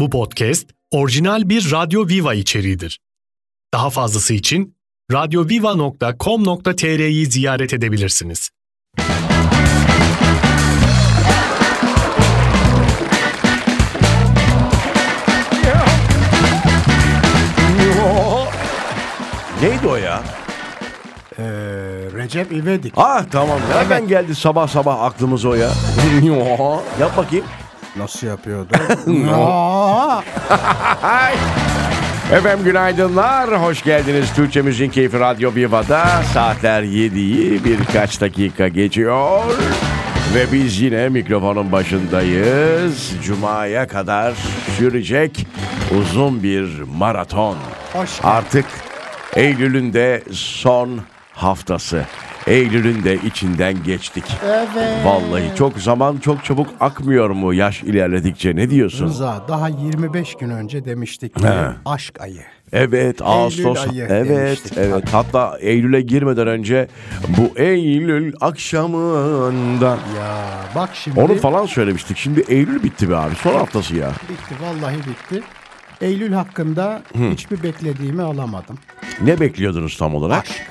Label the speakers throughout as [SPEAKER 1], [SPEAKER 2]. [SPEAKER 1] Bu podcast orijinal bir Radyo Viva içeriğidir. Daha fazlası için radyoviva.com.tr'yi ziyaret edebilirsiniz.
[SPEAKER 2] Neydi o ya?
[SPEAKER 3] Ee, Recep İvedik.
[SPEAKER 2] Ah tamam. Nereden geldi sabah sabah aklımız o ya? Yap bakayım.
[SPEAKER 3] Nasıl yapıyordu? Aa!
[SPEAKER 2] Efendim günaydınlar. Hoş geldiniz Türkçe Müziğin Keyfi Radyo Viva'da. Saatler 7'yi birkaç dakika geçiyor. Ve biz yine mikrofonun başındayız. Cuma'ya kadar sürecek uzun bir maraton.
[SPEAKER 3] Hoş geldin.
[SPEAKER 2] Artık Eylül'ün de son haftası. Eylül'ün de içinden geçtik.
[SPEAKER 3] Evet.
[SPEAKER 2] Vallahi çok zaman çok çabuk akmıyor mu yaş ilerledikçe ne diyorsun?
[SPEAKER 3] Rıza daha 25 gün önce demiştik ki
[SPEAKER 2] He.
[SPEAKER 3] aşk ayı.
[SPEAKER 2] Evet Ağustos
[SPEAKER 3] ayı
[SPEAKER 2] evet
[SPEAKER 3] demiştik.
[SPEAKER 2] evet hatta Eylül'e girmeden önce bu Eylül akşamında
[SPEAKER 3] Ya bak şimdi
[SPEAKER 2] onu falan söylemiştik. Şimdi Eylül bitti be abi son haftası ya.
[SPEAKER 3] bitti vallahi bitti. Eylül hakkında hiçbir beklediğimi alamadım.
[SPEAKER 2] Ne bekliyordunuz tam olarak?
[SPEAKER 3] Aşk.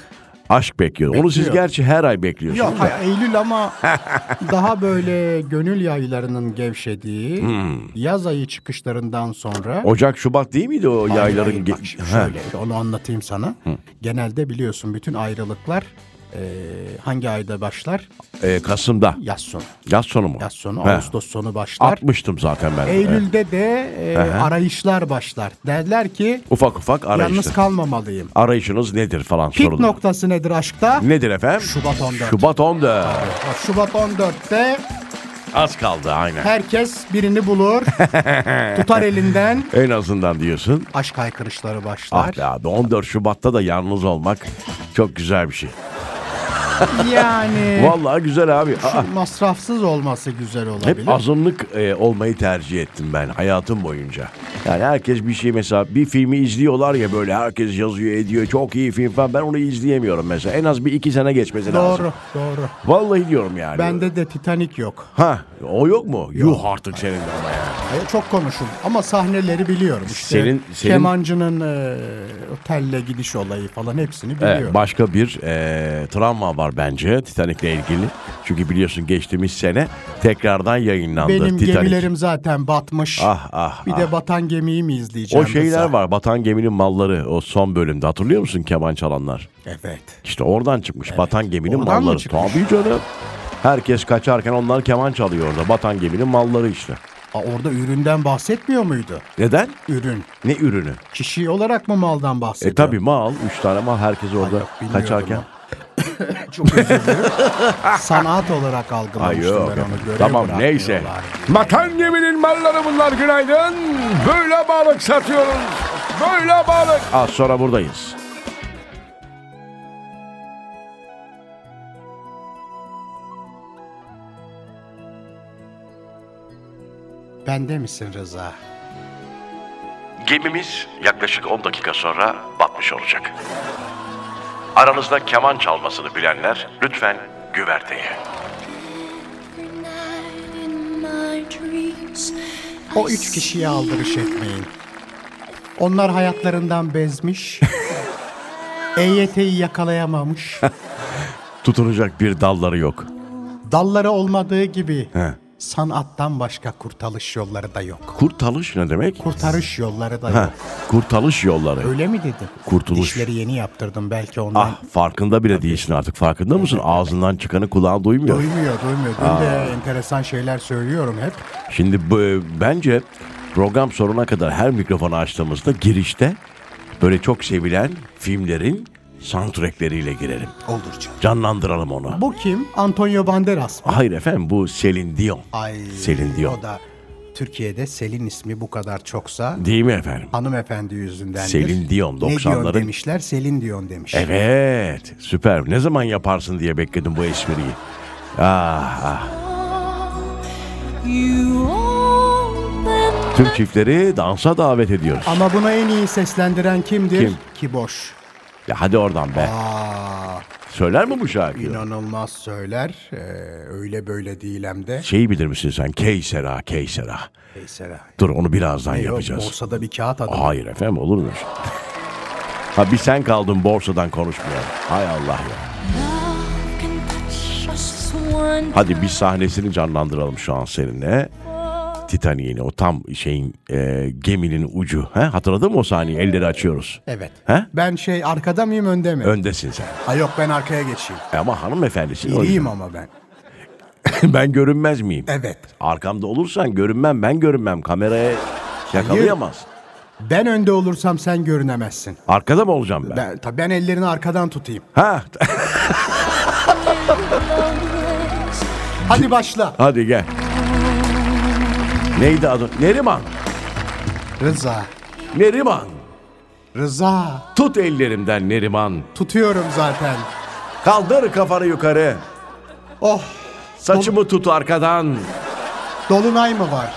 [SPEAKER 2] Aşk bekliyordum. Onu siz
[SPEAKER 3] Bekliyorum.
[SPEAKER 2] gerçi her ay bekliyorsunuz.
[SPEAKER 3] Yok ha, Eylül ama daha böyle gönül yaylarının gevşediği yaz ayı çıkışlarından sonra
[SPEAKER 2] Ocak Şubat değil miydi o yayların?
[SPEAKER 3] Hayır,
[SPEAKER 2] ge-
[SPEAKER 3] bak şimdi
[SPEAKER 2] Ha.
[SPEAKER 3] şöyle onu anlatayım sana. Genelde biliyorsun bütün ayrılıklar e, hangi ayda başlar?
[SPEAKER 2] Ee, Kasım'da
[SPEAKER 3] Yaz sonu.
[SPEAKER 2] yaz sonu mu?
[SPEAKER 3] Yaz sonu,
[SPEAKER 2] He.
[SPEAKER 3] Ağustos sonu başlar.
[SPEAKER 2] Atmıştım zaten ben. Evet.
[SPEAKER 3] Eylül'de de e, arayışlar başlar. Derler ki
[SPEAKER 2] Ufak ufak arayışlar.
[SPEAKER 3] yalnız kalmamalıyım.
[SPEAKER 2] Arayışınız nedir falan
[SPEAKER 3] Pik
[SPEAKER 2] sorulur.
[SPEAKER 3] noktası nedir aşkta?
[SPEAKER 2] Nedir efendim?
[SPEAKER 3] Şubat 14.
[SPEAKER 2] Şubat 14.
[SPEAKER 3] Ha, Şubat 14'te
[SPEAKER 2] Az kaldı aynen.
[SPEAKER 3] herkes birini bulur, tutar elinden.
[SPEAKER 2] En azından diyorsun.
[SPEAKER 3] Aşk haykırışları
[SPEAKER 2] Ah
[SPEAKER 3] başlar.
[SPEAKER 2] be abi 14 Şubat'ta da yalnız olmak çok güzel bir şey.
[SPEAKER 3] yani
[SPEAKER 2] Vallahi güzel abi. Aa,
[SPEAKER 3] şu masrafsız olması güzel olabilir.
[SPEAKER 2] hep azınlık e, olmayı tercih ettim ben hayatım boyunca. Yani herkes bir şey mesela bir filmi izliyorlar ya böyle herkes yazıyor ediyor çok iyi film falan ben onu izleyemiyorum mesela. En az bir iki sene geçmesi lazım.
[SPEAKER 3] Doğru, doğru.
[SPEAKER 2] Vallahi diyorum yani.
[SPEAKER 3] Bende de Titanic yok.
[SPEAKER 2] Ha o yok mu? Yuh artık senin de. ama ya.
[SPEAKER 3] Hayır, Çok konuşuldu ama sahneleri biliyorum. İşte
[SPEAKER 2] Senin- senin-
[SPEAKER 3] Kemancının e, otelle gidiş olayı falan hepsini
[SPEAKER 2] Evet,
[SPEAKER 3] biliyorum.
[SPEAKER 2] başka bir e, travma var bence Titanic'le ilgili. Çünkü biliyorsun geçtiğimiz sene tekrardan yayınlandı
[SPEAKER 3] Benim
[SPEAKER 2] Titanic.
[SPEAKER 3] gemilerim zaten batmış.
[SPEAKER 2] Ah ah.
[SPEAKER 3] bir
[SPEAKER 2] ah.
[SPEAKER 3] de batan gemiyi mi izleyeceğim?
[SPEAKER 2] o şeyler
[SPEAKER 3] mesela?
[SPEAKER 2] var. Batan geminin malları o son bölümde hatırlıyor musun keman çalanlar?
[SPEAKER 3] Evet.
[SPEAKER 2] İşte oradan çıkmış. Batan geminin
[SPEAKER 3] Oradan mı
[SPEAKER 2] malları.
[SPEAKER 3] çıkmış?
[SPEAKER 2] Tabii canım. Herkes kaçarken onlar keman çalıyor orada. Batan geminin malları işte.
[SPEAKER 3] Aa, orada üründen bahsetmiyor muydu?
[SPEAKER 2] Neden?
[SPEAKER 3] Ürün.
[SPEAKER 2] Ne ürünü?
[SPEAKER 3] Kişi olarak mı maldan
[SPEAKER 2] E
[SPEAKER 3] bahsediyor?
[SPEAKER 2] tabi mal. Üç tane mal herkes orada
[SPEAKER 3] yok, bilmiyordum
[SPEAKER 2] kaçarken.
[SPEAKER 3] Çok özür dilerim. Sanat olarak
[SPEAKER 2] Ay
[SPEAKER 3] algılamıştım
[SPEAKER 2] yok.
[SPEAKER 3] ben onu. Görev
[SPEAKER 2] Tamam neyse.
[SPEAKER 3] bırakmıyorlar.
[SPEAKER 2] Batan geminin malları bunlar günaydın. Böyle balık satıyoruz. Böyle balık. Az sonra buradayız.
[SPEAKER 3] Bende misin Rıza?
[SPEAKER 2] Gemimiz yaklaşık 10 dakika sonra batmış olacak. Aranızda keman çalmasını bilenler lütfen güverteye.
[SPEAKER 3] O üç kişiye aldırış etmeyin. Onlar hayatlarından bezmiş. EYT'yi yakalayamamış.
[SPEAKER 2] Tutunacak bir dalları yok.
[SPEAKER 3] Dalları olmadığı gibi
[SPEAKER 2] He.
[SPEAKER 3] sanattan başka kurtarış yolları da yok.
[SPEAKER 2] Kurtarış ne demek?
[SPEAKER 3] Kurtarış yolları da
[SPEAKER 2] Heh,
[SPEAKER 3] yok.
[SPEAKER 2] kurtarış yolları.
[SPEAKER 3] Öyle mi dedim?
[SPEAKER 2] Kurtuluş.
[SPEAKER 3] Dişleri yeni yaptırdım belki ondan.
[SPEAKER 2] Ah farkında bile değilsin artık farkında mısın? Ağzından çıkanı kulağın duymuyor.
[SPEAKER 3] Duymuyor, duymuyor. Dün de enteresan şeyler söylüyorum hep.
[SPEAKER 2] Şimdi bu- e, bence program sonuna kadar her mikrofonu açtığımızda girişte böyle çok sevilen filmlerin soundtrackleriyle girelim.
[SPEAKER 3] Olur canım.
[SPEAKER 2] Canlandıralım onu.
[SPEAKER 3] Bu kim? Antonio Banderas mı?
[SPEAKER 2] Hayır efendim bu Selin Dion.
[SPEAKER 3] Ay,
[SPEAKER 2] Selin Dion.
[SPEAKER 3] O da Türkiye'de Selin ismi bu kadar çoksa
[SPEAKER 2] Değil mi efendim?
[SPEAKER 3] hanımefendi yüzündendir.
[SPEAKER 2] Selin Dion,
[SPEAKER 3] Ne Dion
[SPEAKER 2] 90'ların
[SPEAKER 3] demişler? Selin Dion demiş.
[SPEAKER 2] Evet süper. Ne zaman yaparsın diye bekledim bu espriyi. Ah, ah.
[SPEAKER 4] Oh,
[SPEAKER 2] Tüm çiftleri dansa davet ediyoruz.
[SPEAKER 3] Ama buna en iyi seslendiren kimdir?
[SPEAKER 2] Kim?
[SPEAKER 3] Ki boş.
[SPEAKER 2] Ya hadi oradan be.
[SPEAKER 3] Aa,
[SPEAKER 2] Söyler mi bu şarkıyı?
[SPEAKER 3] İnanılmaz söyler. Ee, öyle böyle değilim de.
[SPEAKER 2] Şeyi bilir misin sen? Keysera, Keysera.
[SPEAKER 3] Neyse.
[SPEAKER 2] Dur onu birazdan
[SPEAKER 3] Yok,
[SPEAKER 2] yapacağız.
[SPEAKER 3] borsada bir kağıt adamı.
[SPEAKER 2] Hayır efendim olur mu? Ha bir sen kaldın borsadan konuşmayan. Hay Allah ya. Hadi bir sahnesini canlandıralım şu an seninle. Titanic'in o tam şeyin e, geminin ucu. He? Hatırladın mı o sahneyi? Elleri açıyoruz.
[SPEAKER 3] Evet.
[SPEAKER 2] He?
[SPEAKER 3] Ben şey arkada mıyım önde mi?
[SPEAKER 2] Öndesin sen.
[SPEAKER 3] Ha yok ben arkaya geçeyim.
[SPEAKER 2] E Ama hanımefendisin. o
[SPEAKER 3] İriyim ama ben.
[SPEAKER 2] yüzden. ben görünmez miyim?
[SPEAKER 3] Evet.
[SPEAKER 2] Arkamda olursan görünmem ben görünmem. Kameraya yakalayamaz.
[SPEAKER 3] Ben önde olursam sen görünemezsin.
[SPEAKER 2] Arkada mı olacağım ben?
[SPEAKER 3] Ben, tabii ben ellerini arkadan tutayım.
[SPEAKER 2] Ha.
[SPEAKER 3] Hadi başla.
[SPEAKER 2] Hadi gel. Neydi adı? Neriman.
[SPEAKER 3] Rıza.
[SPEAKER 2] Neriman.
[SPEAKER 3] Rıza.
[SPEAKER 2] Tut ellerimden Neriman.
[SPEAKER 3] Tutuyorum zaten.
[SPEAKER 2] Kaldır kafanı yukarı.
[SPEAKER 3] Oh.
[SPEAKER 2] Saçımı tut arkadan.
[SPEAKER 3] Dolunay mı var?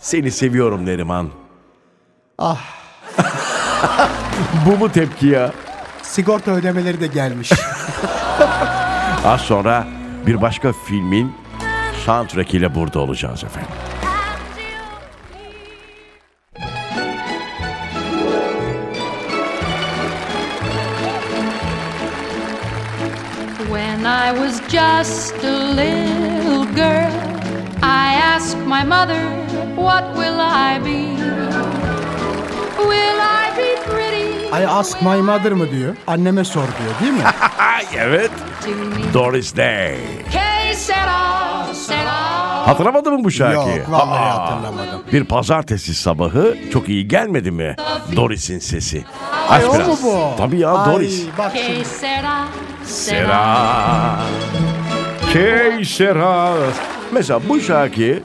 [SPEAKER 2] Seni seviyorum Neriman.
[SPEAKER 3] Ah.
[SPEAKER 2] Bu mu tepki ya?
[SPEAKER 3] Sigorta ödemeleri de gelmiş.
[SPEAKER 2] Az sonra bir başka filmin soundtrack ile burada olacağız efendim.
[SPEAKER 4] When I was just a little girl, I asked my mother, What will I be? Will I be pretty?
[SPEAKER 3] I ask my mother mı diyor. Anneme sor diyor değil mi?
[SPEAKER 2] Ay evet.
[SPEAKER 4] To me.
[SPEAKER 2] Doris Day.
[SPEAKER 4] Kay said all, said all.
[SPEAKER 2] Hatırlamadın mı bu şarkıyı?
[SPEAKER 3] Yok vallahi
[SPEAKER 2] Aa.
[SPEAKER 3] hatırlamadım.
[SPEAKER 2] Bir pazartesi sabahı çok iyi gelmedi mi? Doris'in sesi. Aç
[SPEAKER 3] Ay, o mu
[SPEAKER 2] biraz.
[SPEAKER 3] bu?
[SPEAKER 2] Tabii ya
[SPEAKER 3] Ay,
[SPEAKER 2] Doris.
[SPEAKER 3] Bak
[SPEAKER 4] Kay
[SPEAKER 3] şimdi.
[SPEAKER 4] said all, said all.
[SPEAKER 2] Sera. Keysera. Mesela bu şarkıyı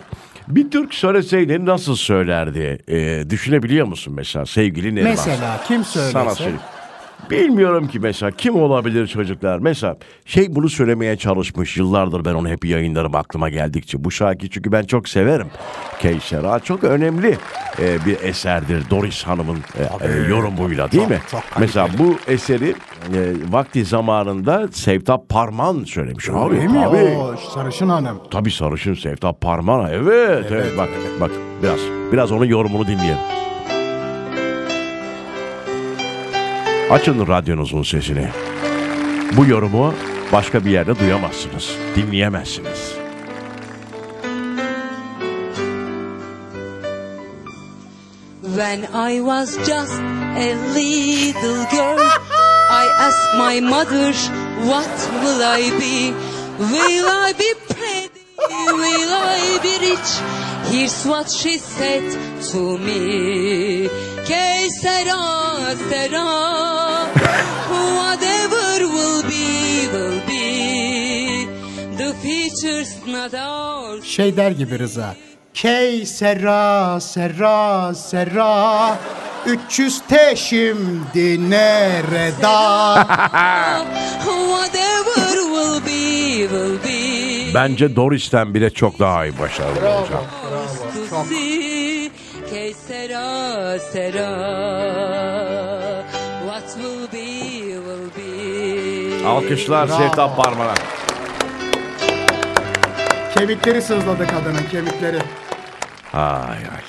[SPEAKER 2] bir Türk söyleseydi nasıl söylerdi? Ee, düşünebiliyor musun mesela sevgili Neriman?
[SPEAKER 3] Mesela kim
[SPEAKER 2] Sana
[SPEAKER 3] söylese?
[SPEAKER 2] söyleyeyim. Bilmiyorum ki mesela kim olabilir çocuklar. Mesela şey bunu söylemeye çalışmış yıllardır ben onu hep yayınlarım aklıma geldikçe. Bu şarkıyı çünkü ben çok severim. Keysera çok önemli e, bir eserdir Doris Hanım'ın e, e, yorumuyla değil mi?
[SPEAKER 3] çok kaliteli.
[SPEAKER 2] mesela bu eseri e, vakti zamanında Sevtap Parman söylemiş. Abi,
[SPEAKER 3] Değil mi?
[SPEAKER 2] Tabii.
[SPEAKER 3] Oo, sarışın hanım.
[SPEAKER 2] Tabii sarışın Sevtap Parman. Evet, evet, bak bak biraz biraz onun yorumunu dinleyelim. Açın radyonuzun sesini. Bu yorumu başka bir yerde duyamazsınız, dinleyemezsiniz.
[SPEAKER 5] When I was just a little girl, I asked my mother, what will I be? Will I be pretty? Will I be rich? Here's what she said to me. Que sera, sera. Whatever will be, will be. The future's not ours.
[SPEAKER 3] Şey der gibi Rıza. Key serra serra serra 300 T şimdi nerede?
[SPEAKER 5] Whatever will be, will be.
[SPEAKER 2] Bence Doris'ten bile çok daha iyi başarılı olacak.
[SPEAKER 5] to see. Que sera, sera. What will be, will be.
[SPEAKER 2] Alkışlar
[SPEAKER 3] Bravo.
[SPEAKER 2] Sevtap Parman'a.
[SPEAKER 3] kemikleri sızladı kadının kemikleri.
[SPEAKER 2] Ay ay.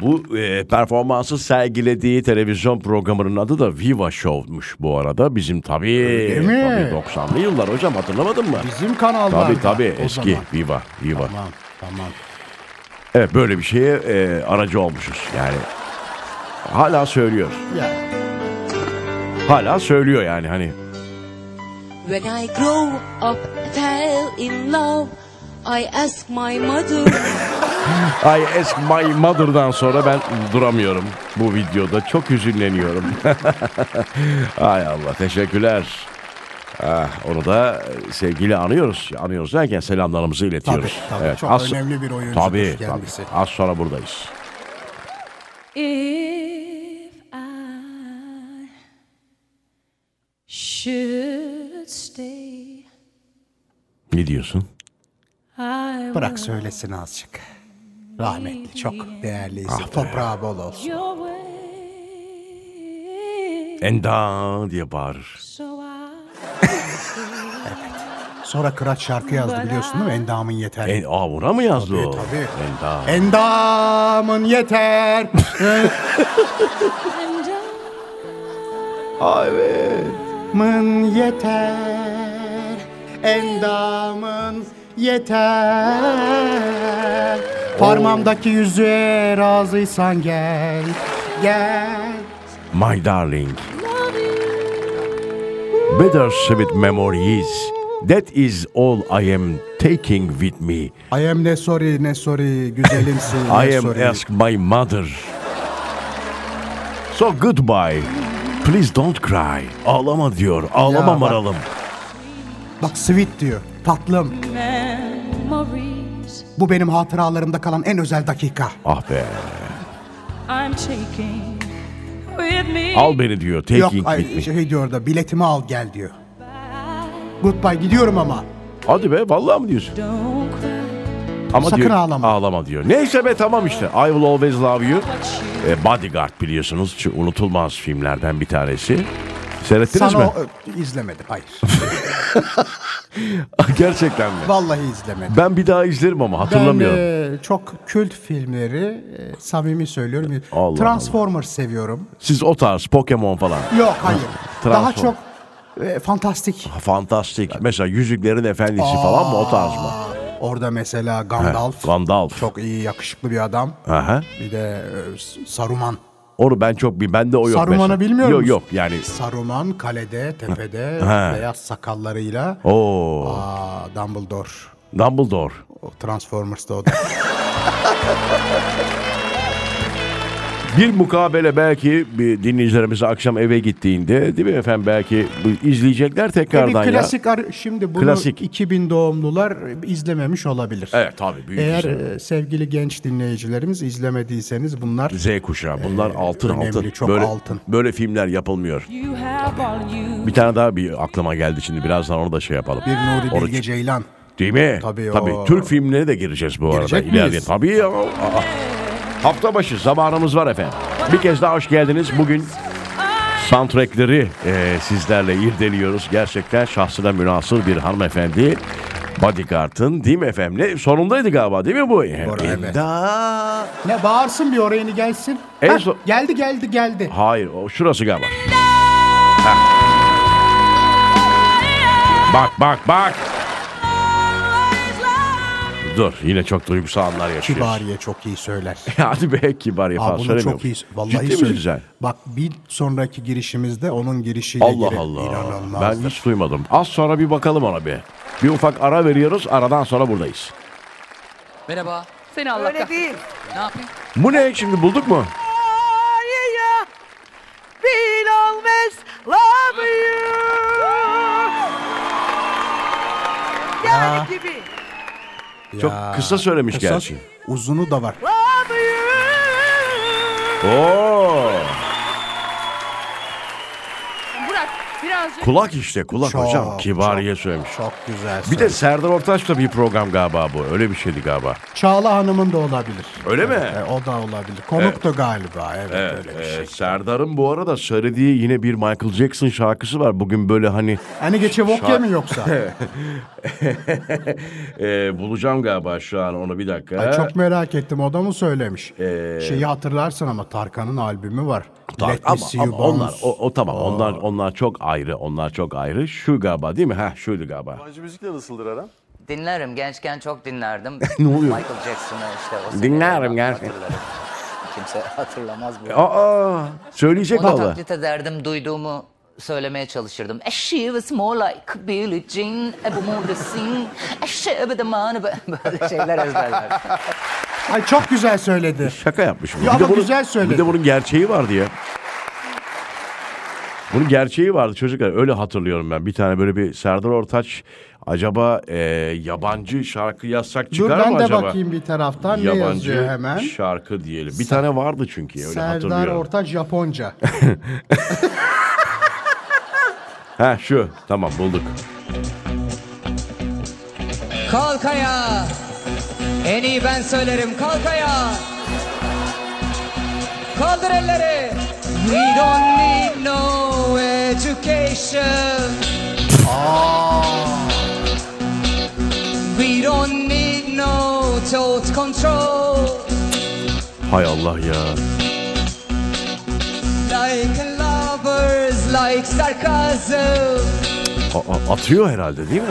[SPEAKER 2] Bu e, performansı sergilediği televizyon programının adı da Viva Show'muş bu arada. Bizim tabii,
[SPEAKER 3] Öyle mi?
[SPEAKER 2] tabii 90'lı yıllar hocam hatırlamadın mı?
[SPEAKER 3] Bizim kanallarda.
[SPEAKER 2] Tabii tabii
[SPEAKER 3] o
[SPEAKER 2] eski
[SPEAKER 3] zaman.
[SPEAKER 2] Viva Viva.
[SPEAKER 3] Tamam tamam.
[SPEAKER 2] Evet böyle bir şeye e, aracı olmuşuz yani. Hala söylüyor.
[SPEAKER 3] Ya.
[SPEAKER 2] Hala söylüyor yani hani.
[SPEAKER 5] When I grow up, fell in love. I ask my mother.
[SPEAKER 2] I ask my mother'dan sonra ben duramıyorum bu videoda. Çok hüzünleniyorum. Ay Allah teşekkürler. Ah, onu da sevgili anıyoruz. Anıyoruz derken selamlarımızı iletiyoruz.
[SPEAKER 3] Tabii, tabii. Çok önemli bir oyuncudur
[SPEAKER 2] Tabii,
[SPEAKER 3] kendisi.
[SPEAKER 2] tabii. Az sonra buradayız.
[SPEAKER 4] If I should stay,
[SPEAKER 2] Ne diyorsun?
[SPEAKER 4] I
[SPEAKER 3] Bırak söylesin azıcık.
[SPEAKER 2] Ah,
[SPEAKER 3] Rahmetli çok değerliyse toprağı bol olsun.
[SPEAKER 4] your way.
[SPEAKER 2] Eh. Enda diye bağırır.
[SPEAKER 4] So I
[SPEAKER 3] Sonra Kıraç şarkı yazdı biliyorsun değil mi? Endamın yeter.
[SPEAKER 2] En, aa buna mı yazdı o?
[SPEAKER 3] tabii.
[SPEAKER 2] Enda.
[SPEAKER 3] Endamın yeter.
[SPEAKER 4] am done.
[SPEAKER 2] Aa, evet.
[SPEAKER 3] Mın yeter. Endamın yeter. Parmağımdaki yüzüğe razıysan gel. Gel.
[SPEAKER 2] My darling. Bittersweet memories. That is all I am taking with me.
[SPEAKER 3] I am ne sorry ne sorry güzelimsin ne
[SPEAKER 2] I am
[SPEAKER 3] sorry.
[SPEAKER 2] ask my mother. So goodbye. Please don't cry. Ağlama diyor. Ağlama
[SPEAKER 3] Ya bak.
[SPEAKER 2] maralım.
[SPEAKER 3] Bak sweet diyor. Tatlım.
[SPEAKER 4] memories
[SPEAKER 3] Bu benim hatıralarımda kalan en özel dakika.
[SPEAKER 2] Ah be.
[SPEAKER 4] I'm taking with me.
[SPEAKER 2] Al beni diyor.
[SPEAKER 3] Yok
[SPEAKER 2] Taking
[SPEAKER 3] ay,
[SPEAKER 2] with me.
[SPEAKER 3] şey diyor da biletimi al gel diyor. Goodbye gidiyorum ama.
[SPEAKER 2] Hadi be vallahi mi diyorsun?
[SPEAKER 4] Don't cry
[SPEAKER 2] Ama
[SPEAKER 3] Sakın
[SPEAKER 2] diyor,
[SPEAKER 3] ağlama.
[SPEAKER 2] Ağlama diyor. Neyse be tamam işte. I will always love you.
[SPEAKER 4] what you
[SPEAKER 2] E, Bodyguard biliyorsunuz şu unutulmaz filmlerden bir tanesi. Seyrettiniz
[SPEAKER 3] Sana
[SPEAKER 2] mi?
[SPEAKER 3] o- ö, izlemedim. Hayır.
[SPEAKER 2] Gerçekten mi?
[SPEAKER 3] Vallahi izlemedim.
[SPEAKER 2] Ben bir daha izlerim ama hatırlamıyorum.
[SPEAKER 3] Ben e, çok kült filmleri e, samimi söylüyorum.
[SPEAKER 2] Allah
[SPEAKER 3] Transformers seviyorum.
[SPEAKER 2] Siz o tarz Pokemon falan.
[SPEAKER 3] Yok hayır. Daha
[SPEAKER 2] Transform-
[SPEAKER 3] çok e, fantastik.
[SPEAKER 2] Fantastik. Mesela Yüzüklerin Efendisi falan mı o tarz mı?
[SPEAKER 3] Orada mesela Gandalf.
[SPEAKER 2] Ah. Gandalf.
[SPEAKER 3] Çok iyi yakışıklı bir adam.
[SPEAKER 2] Aha.
[SPEAKER 3] Bir de e, S- Saruman.
[SPEAKER 2] Onu ben çok bir bende o yok
[SPEAKER 3] Saruman'ı
[SPEAKER 2] mesela.
[SPEAKER 3] bilmiyor
[SPEAKER 2] Yok
[SPEAKER 3] musun?
[SPEAKER 2] yok yani.
[SPEAKER 3] Saruman kalede, tepede,
[SPEAKER 2] Ha.
[SPEAKER 3] beyaz sakallarıyla.
[SPEAKER 2] Oo,
[SPEAKER 3] Aa, Dumbledore.
[SPEAKER 2] Dumbledore.
[SPEAKER 3] O Transformers'ta o da.
[SPEAKER 2] Bir mukabele belki bir dinleyicilerimize akşam eve gittiğinde değil mi efendim belki bu izleyecekler
[SPEAKER 3] Bir
[SPEAKER 2] tekrardan ya.
[SPEAKER 3] klasik ar- şimdi bunu
[SPEAKER 2] Klasik.
[SPEAKER 3] 2000 doğumlular izlememiş olabilir.
[SPEAKER 2] Evet tabii büyük
[SPEAKER 3] Eğer
[SPEAKER 2] izlenim.
[SPEAKER 3] e, sevgili genç dinleyicilerimiz izlemediyseniz bunlar
[SPEAKER 2] Z kuşağı bunlar altın
[SPEAKER 3] e, önemli,
[SPEAKER 2] altın.
[SPEAKER 3] çok
[SPEAKER 2] böyle,
[SPEAKER 3] altın.
[SPEAKER 2] Böyle filmler yapılmıyor.
[SPEAKER 4] you have all you
[SPEAKER 2] Bir tane daha bir aklıma geldi şimdi birazdan onu da şey yapalım.
[SPEAKER 3] bir Nuri
[SPEAKER 2] Onu-
[SPEAKER 3] Bilge Ceylan.
[SPEAKER 2] Değil mi?
[SPEAKER 3] Tabii o-
[SPEAKER 2] Türk filmlerine de gireceğiz bu arada.
[SPEAKER 3] Girecek
[SPEAKER 2] İleride.
[SPEAKER 3] miyiz?
[SPEAKER 2] Tabii ya. Aa. Hafta başı zamanımız var efendim. Bir kez daha hoş geldiniz. Bugün soundtrackleri e, sizlerle irdeliyoruz. Gerçekten şahsına münasır bir hanımefendi. Bodyguard'ın değil mi efendim? Ne, sonundaydı galiba değil mi bu?
[SPEAKER 3] Doğru, evet.
[SPEAKER 2] Enda-
[SPEAKER 3] Ne bağırsın bir oraya yeni gelsin.
[SPEAKER 2] En
[SPEAKER 3] Hah,
[SPEAKER 2] son-
[SPEAKER 3] Geldi geldi geldi.
[SPEAKER 2] Hayır o şurası galiba. Heh. Bak bak bak. Dur yine çok duygusal anlar yaşıyoruz.
[SPEAKER 3] Kibariye çok iyi söyler.
[SPEAKER 2] Hadi be kibar ya
[SPEAKER 3] Aa,
[SPEAKER 2] falan
[SPEAKER 3] bunu
[SPEAKER 2] söylemiyorum.
[SPEAKER 3] çok iyi. Vallahi
[SPEAKER 2] Ciddi mi
[SPEAKER 3] söyle-
[SPEAKER 2] güzel?
[SPEAKER 3] Bak bir sonraki girişimizde onun girişiyle
[SPEAKER 2] Allah
[SPEAKER 3] girip
[SPEAKER 2] Allah.
[SPEAKER 3] inanılmazdır.
[SPEAKER 2] Ben hiç duymadım. Az sonra bir bakalım ona bir. Bir ufak ara veriyoruz. Aradan sonra buradayız.
[SPEAKER 6] Merhaba.
[SPEAKER 4] Seni Allah
[SPEAKER 7] Öyle değil.
[SPEAKER 6] Ne yapayım?
[SPEAKER 2] Bu ne şimdi bulduk mu?
[SPEAKER 7] Ay ya. Will always love you. Yani gibi.
[SPEAKER 2] Çok kısa söylemiş
[SPEAKER 3] Kısa,
[SPEAKER 2] gerçi.
[SPEAKER 3] Uzunu da var.
[SPEAKER 7] Love you.
[SPEAKER 2] Oo!
[SPEAKER 4] Bırak birazcık.
[SPEAKER 2] Kulak işte kulak
[SPEAKER 3] Çok,
[SPEAKER 2] hocam. Kibariye söylemiş.
[SPEAKER 3] Çok güzel.
[SPEAKER 2] Bir de
[SPEAKER 3] söyler.
[SPEAKER 2] Serdar Ortaç'la bir program galiba bu. Öyle bir şeydi galiba.
[SPEAKER 3] Çağla Hanım'ın da olabilir.
[SPEAKER 2] Öyle mi?
[SPEAKER 3] E, o da olabilir. Konuk da galiba. Evet, öyle bir
[SPEAKER 2] Ee,
[SPEAKER 3] şey.
[SPEAKER 2] Serdar'ın bu arada söylediği yine bir Michael Jackson şarkısı var. Bugün böyle hani
[SPEAKER 3] Hani geçe Vokya
[SPEAKER 2] Şar-
[SPEAKER 3] mı yoksa?
[SPEAKER 2] Ee, bulacağım galiba şu an onu bir dakika.
[SPEAKER 3] Ay, çok merak ettim. O da mı söylemiş?
[SPEAKER 2] Ee,
[SPEAKER 3] Şeyi hatırlarsın ama Tarkan'ın albümü var.
[SPEAKER 2] Tar-
[SPEAKER 3] Let me
[SPEAKER 2] ama,
[SPEAKER 3] see you
[SPEAKER 2] ama onlar
[SPEAKER 3] bounce.
[SPEAKER 2] o, o tamam onlar onlar çok ayrı onlar çok ayrı şu galiba değil mi ha şuydu galiba
[SPEAKER 8] Yabancı müzikle nasıldır aran?
[SPEAKER 6] Dinlerim. Gençken çok dinlerim.
[SPEAKER 2] Ne oluyor?
[SPEAKER 6] Michael Jackson'ı işte. O
[SPEAKER 2] Dinlerim
[SPEAKER 6] seneleri
[SPEAKER 2] gerçekten. E,
[SPEAKER 6] hatırlarım. Kimse hatırlamaz bunu.
[SPEAKER 2] aa söyleyecek
[SPEAKER 6] Onu
[SPEAKER 2] valla
[SPEAKER 6] taklit ederdim. Duyduğumu söylemeye çalışırdım. A she was more like Billie Jean. A more the sing. A she be the man. e, Böyle şeyler ezberler.
[SPEAKER 3] Ay çok güzel söyledi.
[SPEAKER 2] şaka yapmışım
[SPEAKER 3] Ya ama güzel söyledi.
[SPEAKER 2] bir de bunun gerçeği vardı ya bunun gerçeği vardı çocuklar öyle hatırlıyorum ben bir tane böyle bir Serdar Ortaç acaba e, yabancı şarkı yazsak
[SPEAKER 3] Dur
[SPEAKER 2] çıkar
[SPEAKER 3] ben
[SPEAKER 2] mı
[SPEAKER 3] de
[SPEAKER 2] acaba
[SPEAKER 3] bakayım bir taraftan ne
[SPEAKER 2] yabancı
[SPEAKER 3] yazıyor hemen.
[SPEAKER 2] şarkı diyelim bir tane vardı çünkü öyle
[SPEAKER 3] Serdar
[SPEAKER 2] hatırlıyorum
[SPEAKER 3] Ortaç Japonca.
[SPEAKER 2] ha şu tamam bulduk
[SPEAKER 9] Kalk ayağa. En iyi ben söylerim. Kalk ayağa. Kaldır elleri. We don't need no education. We don't need no thought control.
[SPEAKER 2] Hay Allah ya.
[SPEAKER 9] Like lovers, like sarcasm.
[SPEAKER 2] A- a- atıyor herhalde değil mi?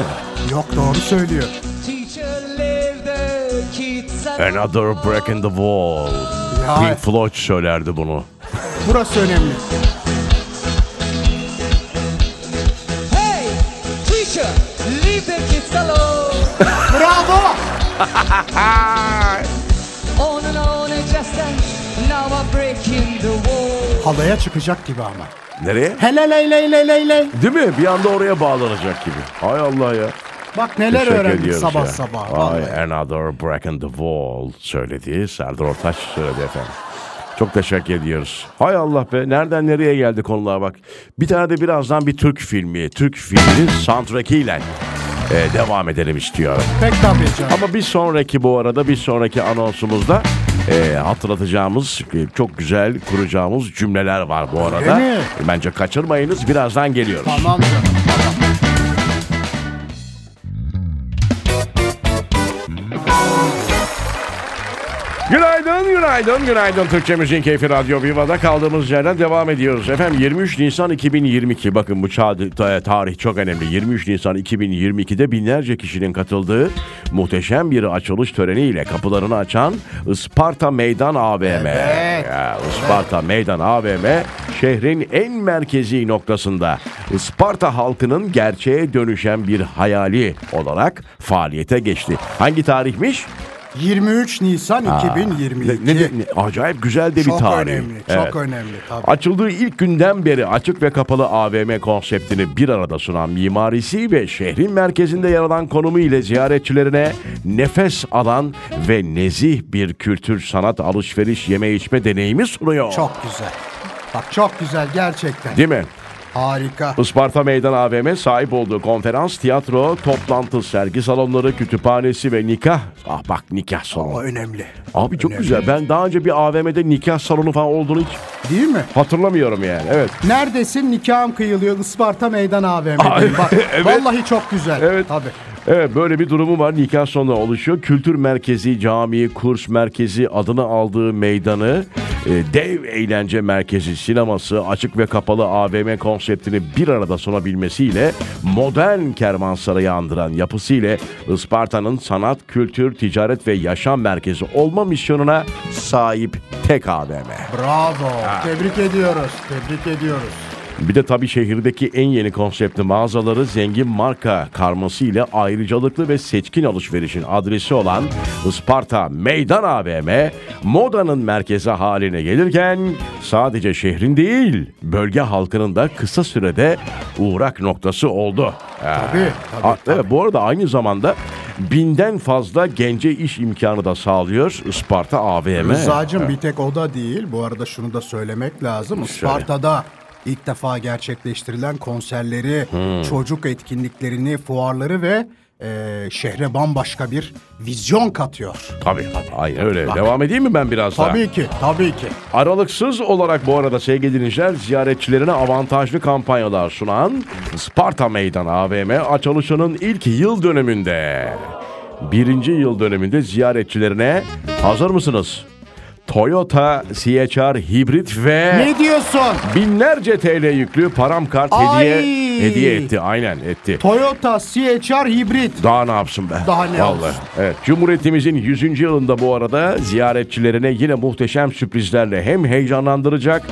[SPEAKER 3] Yok doğru söylüyor.
[SPEAKER 9] Teacher leave the kids at
[SPEAKER 2] Another break in the wall.
[SPEAKER 3] Ya.
[SPEAKER 2] Pink Floyd söylerdi bunu.
[SPEAKER 3] Burası önemli.
[SPEAKER 9] Hey, teacher, leave the kids alone.
[SPEAKER 3] Bravo!
[SPEAKER 9] On and on and just and now I'm breaking the wall.
[SPEAKER 3] Halaya çıkacak gibi ama.
[SPEAKER 2] Nereye?
[SPEAKER 3] Hele ley ley ley ley ley.
[SPEAKER 2] Değil mi? Bir anda oraya bağlanacak gibi. Hay Allah ya.
[SPEAKER 3] Bak neler
[SPEAKER 2] Teşekkür
[SPEAKER 3] öğrendik
[SPEAKER 2] ediyoruz ya.
[SPEAKER 3] sabah sabah.
[SPEAKER 2] Ay,
[SPEAKER 3] Vallahi.
[SPEAKER 2] another break in the wall söyledi. Serdar Ortaç söyledi efendim. Çok teşekkür ediyoruz. Hay Allah be nereden nereye geldi konular bak. Bir tane de birazdan bir Türk filmi. Türk filminin soundtrackiyle e, devam edelim istiyorum.
[SPEAKER 3] Pek tabii canım.
[SPEAKER 2] Ama bir sonraki bu arada bir sonraki anonsumuzda e, hatırlatacağımız e, çok güzel kuracağımız cümleler var bu arada.
[SPEAKER 3] Öyle mi?
[SPEAKER 2] Bence kaçırmayınız birazdan geliyoruz.
[SPEAKER 3] Tamam canım.
[SPEAKER 2] Günaydın, günaydın, günaydın. Türkçe Müziğin Keyfi Radyo Viva'da kaldığımız yerden devam ediyoruz. Efendim 23 Nisan 2022, bakın bu çağ- ta- tarih çok önemli. 23 Nisan 2022'de binlerce kişinin katıldığı muhteşem bir açılış töreniyle kapılarını açan Isparta Meydan AVM. Ya, Isparta Meydan AVM şehrin en merkezi noktasında Isparta halkının gerçeğe dönüşen bir hayali olarak faaliyete geçti. Hangi tarihmiş?
[SPEAKER 3] 23 Nisan
[SPEAKER 2] Ne,
[SPEAKER 3] 2022.
[SPEAKER 2] ne- ne- acayip güzel de bir
[SPEAKER 3] Çok
[SPEAKER 2] tarih.
[SPEAKER 3] önemli, çok
[SPEAKER 2] Evet.
[SPEAKER 3] önemli tabii.
[SPEAKER 2] Açıldığı ilk günden beri açık ve kapalı AVM konseptini bir arada sunan mimarisi ve şehrin merkezinde yer alan konumu ile ziyaretçilerine nefes alan ve nezih bir kültür sanat alışveriş yeme içme deneyimi sunuyor.
[SPEAKER 3] Çok güzel. Bak çok güzel gerçekten.
[SPEAKER 2] Değil mi?
[SPEAKER 3] Harika.
[SPEAKER 2] Isparta Meydan AVM sahip olduğu konferans, tiyatro, toplantı, sergi salonları, kütüphanesi ve nikah. Ah bak nikah
[SPEAKER 3] O
[SPEAKER 2] salonu.
[SPEAKER 3] önemli.
[SPEAKER 2] Abi çok güzel. Ben daha önce bir AVM'de nikah salonu falan olduğunu hiç
[SPEAKER 3] Değil mi?
[SPEAKER 2] Hatırlamıyorum yani. Evet.
[SPEAKER 3] Neredesin? Nikahım kıyılıyor. Isparta Meydan
[SPEAKER 2] Ay,
[SPEAKER 3] AVM'de. Bak
[SPEAKER 2] evet.
[SPEAKER 3] vallahi çok güzel.
[SPEAKER 2] Evet.
[SPEAKER 3] Tabii.
[SPEAKER 2] Evet böyle bir durumu var. Nikah sonra oluşuyor. Kültür merkezi, cami, kurs merkezi adını aldığı meydanı e, dev eğlence merkezi, sineması, açık ve kapalı AVM konseptini bir arada sunabilmesiyle modern kervansarayı andıran yapısıyla Isparta'nın sanat, kültür, ticaret ve yaşam merkezi olma misyonuna sahip tek AVM.
[SPEAKER 3] Bravo. Tebrik ediyoruz. Tebrik ediyoruz.
[SPEAKER 2] Bir de tabii şehirdeki en yeni konseptli mağazaları zengin marka karması ile ayrıcalıklı ve seçkin alışverişin adresi olan Isparta Meydan AVM modanın merkezi haline gelirken sadece şehrin değil bölge halkının da kısa sürede uğrak noktası oldu.
[SPEAKER 3] Tabii. tabii.
[SPEAKER 2] Ha, evet, bu arada aynı zamanda binden fazla gence iş imkanı da sağlıyor Isparta AVM.
[SPEAKER 3] Rıza'cığım bir tek o da değil. Bu arada şunu da söylemek lazım. Isparta'da ilk defa gerçekleştirilen konserleri,
[SPEAKER 2] Hmm.
[SPEAKER 3] çocuk etkinliklerini, fuarları ve e, şehre bambaşka bir vizyon katıyor.
[SPEAKER 2] Tabii. Aynen öyle. Devam edeyim mi ben biraz daha?
[SPEAKER 3] Tabii ki, tabii ki.
[SPEAKER 2] Aralıksız olarak bu arada sevgili dinleyiciler ziyaretçilerine avantajlı kampanyalar sunan Sparta Meydan AVM açılışının ilk yıl dönümünde. Birinci yıl dönümünde ziyaretçilerine hazır mısınız? Toyota CHR hibrit ve
[SPEAKER 3] Ne diyorsun?
[SPEAKER 2] binlerce TL yüklü param kart
[SPEAKER 3] Ay!
[SPEAKER 2] hediye hediye etti. Aynen etti.
[SPEAKER 3] Toyota CHR hibrit.
[SPEAKER 2] Daha ne yapsın be?
[SPEAKER 3] Daha ne
[SPEAKER 2] Vallahi.
[SPEAKER 3] yapsın?
[SPEAKER 2] Evet. Cumhuriyetimizin 100. yılında bu arada ziyaretçilerine yine muhteşem sürprizlerle hem heyecanlandıracak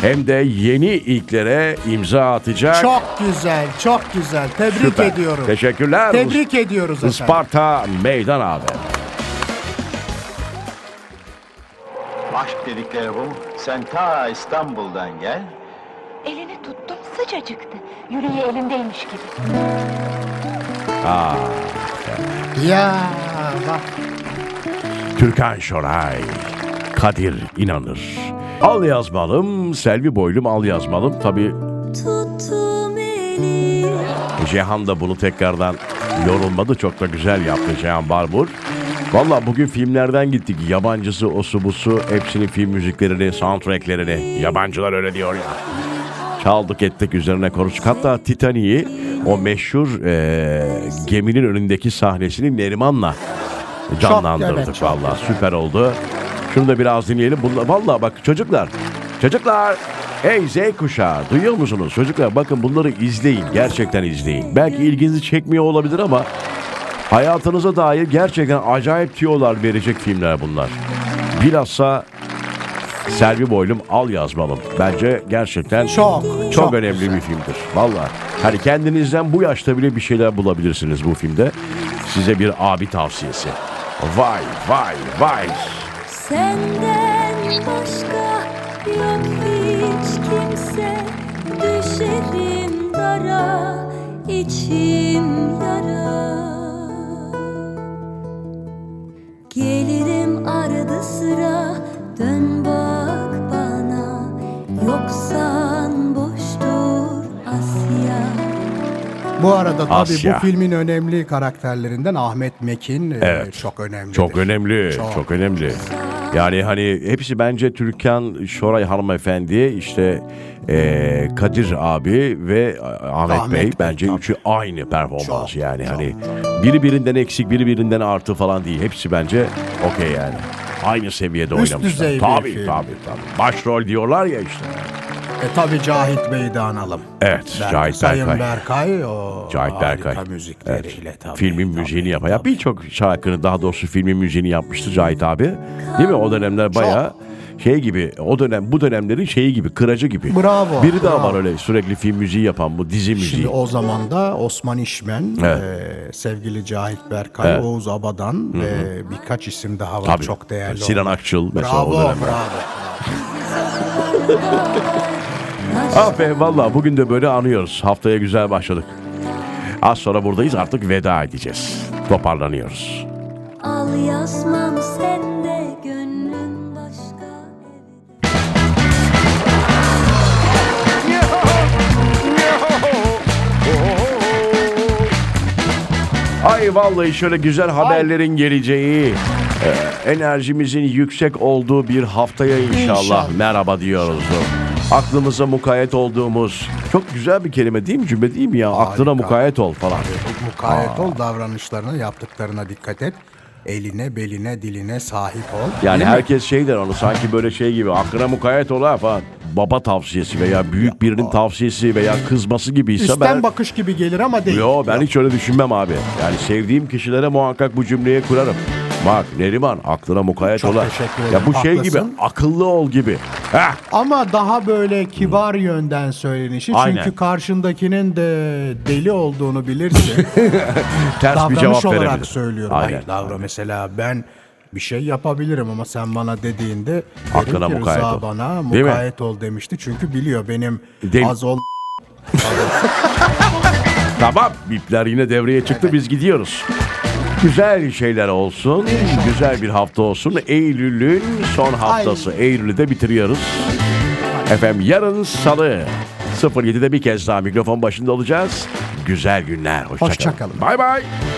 [SPEAKER 2] hem de yeni ilklere imza atacak.
[SPEAKER 3] Çok güzel, çok güzel. Tebrik
[SPEAKER 2] Süper.
[SPEAKER 3] ediyorum.
[SPEAKER 2] Teşekkürler.
[SPEAKER 3] Tebrik ediyoruz efendim.
[SPEAKER 2] Isparta Meydan abi.
[SPEAKER 8] Aşk dedikleri bu. Sen ta İstanbul'dan gel.
[SPEAKER 10] Elini tuttum sıcacıktı. Yüreği elimdeymiş gibi.
[SPEAKER 3] Ya bak.
[SPEAKER 2] Türkan Şoray. Kadir İnanır. Al yazmalım, Selvi Boylum al yazmalım. Tabi
[SPEAKER 5] Tuttum elini
[SPEAKER 2] Cihan da bunu tekrardan yorulmadı. Çok da güzel yaptı Cihan Barbur. Valla bugün filmlerden gittik. Yabancısı, osu busu hepsini film müziklerini, soundtracklerini. Yabancılar öyle diyor ya. Çaldık ettik üzerine konuştuk. Hatta Titanic'i o meşhur eee, geminin önündeki sahnesini Neriman'la canlandırdık
[SPEAKER 3] evet, çok
[SPEAKER 2] valla. Süper oldu. Şunu da biraz dinleyelim. Bunla, valla bak çocuklar. Çocuklar. Ey Z kuşağı duyuyor musunuz? Çocuklar bakın bunları izleyin. Gerçekten izleyin. Belki ilginizi çekmiyor olabilir ama hayatınıza dair gerçekten acayip tüyolar verecek filmler bunlar. Bilhassa Selvi Boylum Al Yazmalım. Bence gerçekten
[SPEAKER 3] Çok,
[SPEAKER 2] çok,
[SPEAKER 3] çok
[SPEAKER 2] önemli bir filmdir. Valla. Hani kendinizden bu yaşta bile bir şeyler bulabilirsiniz bu filmde. Size bir abi tavsiyesi. Vay vay vay.
[SPEAKER 10] Senden başka yok hiç kimse Düşerim dara içim yara Gelirim arada sıra dön bak bana Yoksan boştur Asya
[SPEAKER 3] Bu arada tabii
[SPEAKER 2] Asya.
[SPEAKER 3] bu filmin önemli karakterlerinden Ahmet Mekin e, çok önemli.
[SPEAKER 2] Çok önemli. Çok. önemli. Yani hani hepsi bence Türkan Şoray hanımefendi işte eee, Kadir abi ve e, Ahmet,
[SPEAKER 3] Ahmet
[SPEAKER 2] Bey,
[SPEAKER 3] Bey,
[SPEAKER 2] bence
[SPEAKER 3] tabii.
[SPEAKER 2] üçü aynı performans
[SPEAKER 3] Çok,
[SPEAKER 2] yani hani biri birinden eksik biri birinden artı falan değil hepsi bence okey yani aynı seviyede
[SPEAKER 3] Üst
[SPEAKER 2] oynamışlar.
[SPEAKER 3] düzey bir
[SPEAKER 2] tabii,
[SPEAKER 3] film.
[SPEAKER 2] tabii tabii başrol diyorlar ya işte.
[SPEAKER 3] E tabii Cahit Bey'i de analım.
[SPEAKER 2] Evet
[SPEAKER 3] Berk-
[SPEAKER 2] Cahit
[SPEAKER 3] Sayın
[SPEAKER 2] Berkay.
[SPEAKER 3] Berkay o
[SPEAKER 2] Cahit Berkay.
[SPEAKER 3] harika müzikleriyle tabii.
[SPEAKER 2] filmin
[SPEAKER 3] tabii,
[SPEAKER 2] müziğini yapan.
[SPEAKER 3] tabii.
[SPEAKER 2] Ya birçok şarkının daha doğrusu filmin müziğini yapmıştı Cahit abi. Değil mi? O dönemler bayağı şey gibi o dönem bu dönemlerin şeyi gibi kıracı gibi.
[SPEAKER 3] Bravo,
[SPEAKER 2] Biri daha
[SPEAKER 3] bravo.
[SPEAKER 2] var öyle sürekli film müziği yapan bu dizi müziği.
[SPEAKER 3] Şimdi o zaman da Osman İşmen,
[SPEAKER 2] Evet.
[SPEAKER 3] e, sevgili Cahit Berkay,
[SPEAKER 2] Evet.
[SPEAKER 3] Oğuz Abadan ve birkaç isim daha var
[SPEAKER 2] Tabii.
[SPEAKER 3] çok değerli.
[SPEAKER 2] Sinan
[SPEAKER 3] olan.
[SPEAKER 2] Akçıl mesela
[SPEAKER 3] Bravo,
[SPEAKER 2] o dönemler.
[SPEAKER 3] bravo.
[SPEAKER 2] Aferin valla Ah bugün de böyle anıyoruz. Haftaya güzel başladık. Az sonra buradayız artık veda edeceğiz. Toparlanıyoruz.
[SPEAKER 10] Al yazmam sende gönlüm başka evde.
[SPEAKER 2] Ay vallahi şöyle güzel haberlerin geleceği, e, enerjimizin yüksek olduğu bir haftaya inşallah,
[SPEAKER 3] İnşallah.
[SPEAKER 2] merhaba diyoruz. Aklımıza mukayyet olduğumuz çok güzel bir kelime değil mi cümle değil mi ya? Aklına mukayyet ol falan.
[SPEAKER 3] Mukayyet ol davranışlarına, yaptıklarına dikkat et. Eline, beline, diline sahip ol.
[SPEAKER 2] Yani herkes şey der onu sanki böyle şey gibi aklına mukayyet ol ha falan. Baba tavsiyesi veya büyük birinin tavsiyesi veya kızması gibiyse
[SPEAKER 3] Üstten
[SPEAKER 2] şey ben...
[SPEAKER 3] bakış gibi gelir ama değil.
[SPEAKER 2] Yo ben hiç öyle düşünmem abi. Yani sevdiğim kişilere muhakkak bu cümleyi kurarım. Bak Neriman aklına mukayyet
[SPEAKER 3] Çok
[SPEAKER 2] ola.
[SPEAKER 3] teşekkür ederim,
[SPEAKER 2] Ya bu şey gibi
[SPEAKER 3] haklısın.
[SPEAKER 2] akıllı ol gibi. Heh.
[SPEAKER 3] Ama daha böyle kibar yönden söylenişi.
[SPEAKER 2] Aynen.
[SPEAKER 3] Çünkü karşındakinin de deli olduğunu bilirsin.
[SPEAKER 2] Ters bir
[SPEAKER 3] davranış
[SPEAKER 2] cevap
[SPEAKER 3] olarak
[SPEAKER 2] verebilir.
[SPEAKER 3] söylüyorum.
[SPEAKER 2] Aynen.
[SPEAKER 3] Hayır davra mesela ben bir şey yapabilirim ama sen bana dediğinde derim
[SPEAKER 2] Aklına
[SPEAKER 3] ki
[SPEAKER 2] mukayyet
[SPEAKER 3] Rıza
[SPEAKER 2] ol.
[SPEAKER 3] bana
[SPEAKER 2] Değil mi?
[SPEAKER 3] mukayyet ol demişti. Çünkü biliyor benim
[SPEAKER 2] Değil mi?
[SPEAKER 3] az ol...
[SPEAKER 2] Tamam bipler yine devreye çıktı biz gidiyoruz. Güzel şeyler olsun. Güzel bir hafta olsun. Eylül'ün son haftası. Eylül'ü de bitiriyoruz. Efendim yarın salı 07'de bir kez daha mikrofon başında olacağız. Güzel günler. Hoşçakalın.
[SPEAKER 3] Hoşça kalın.
[SPEAKER 2] Bay bay.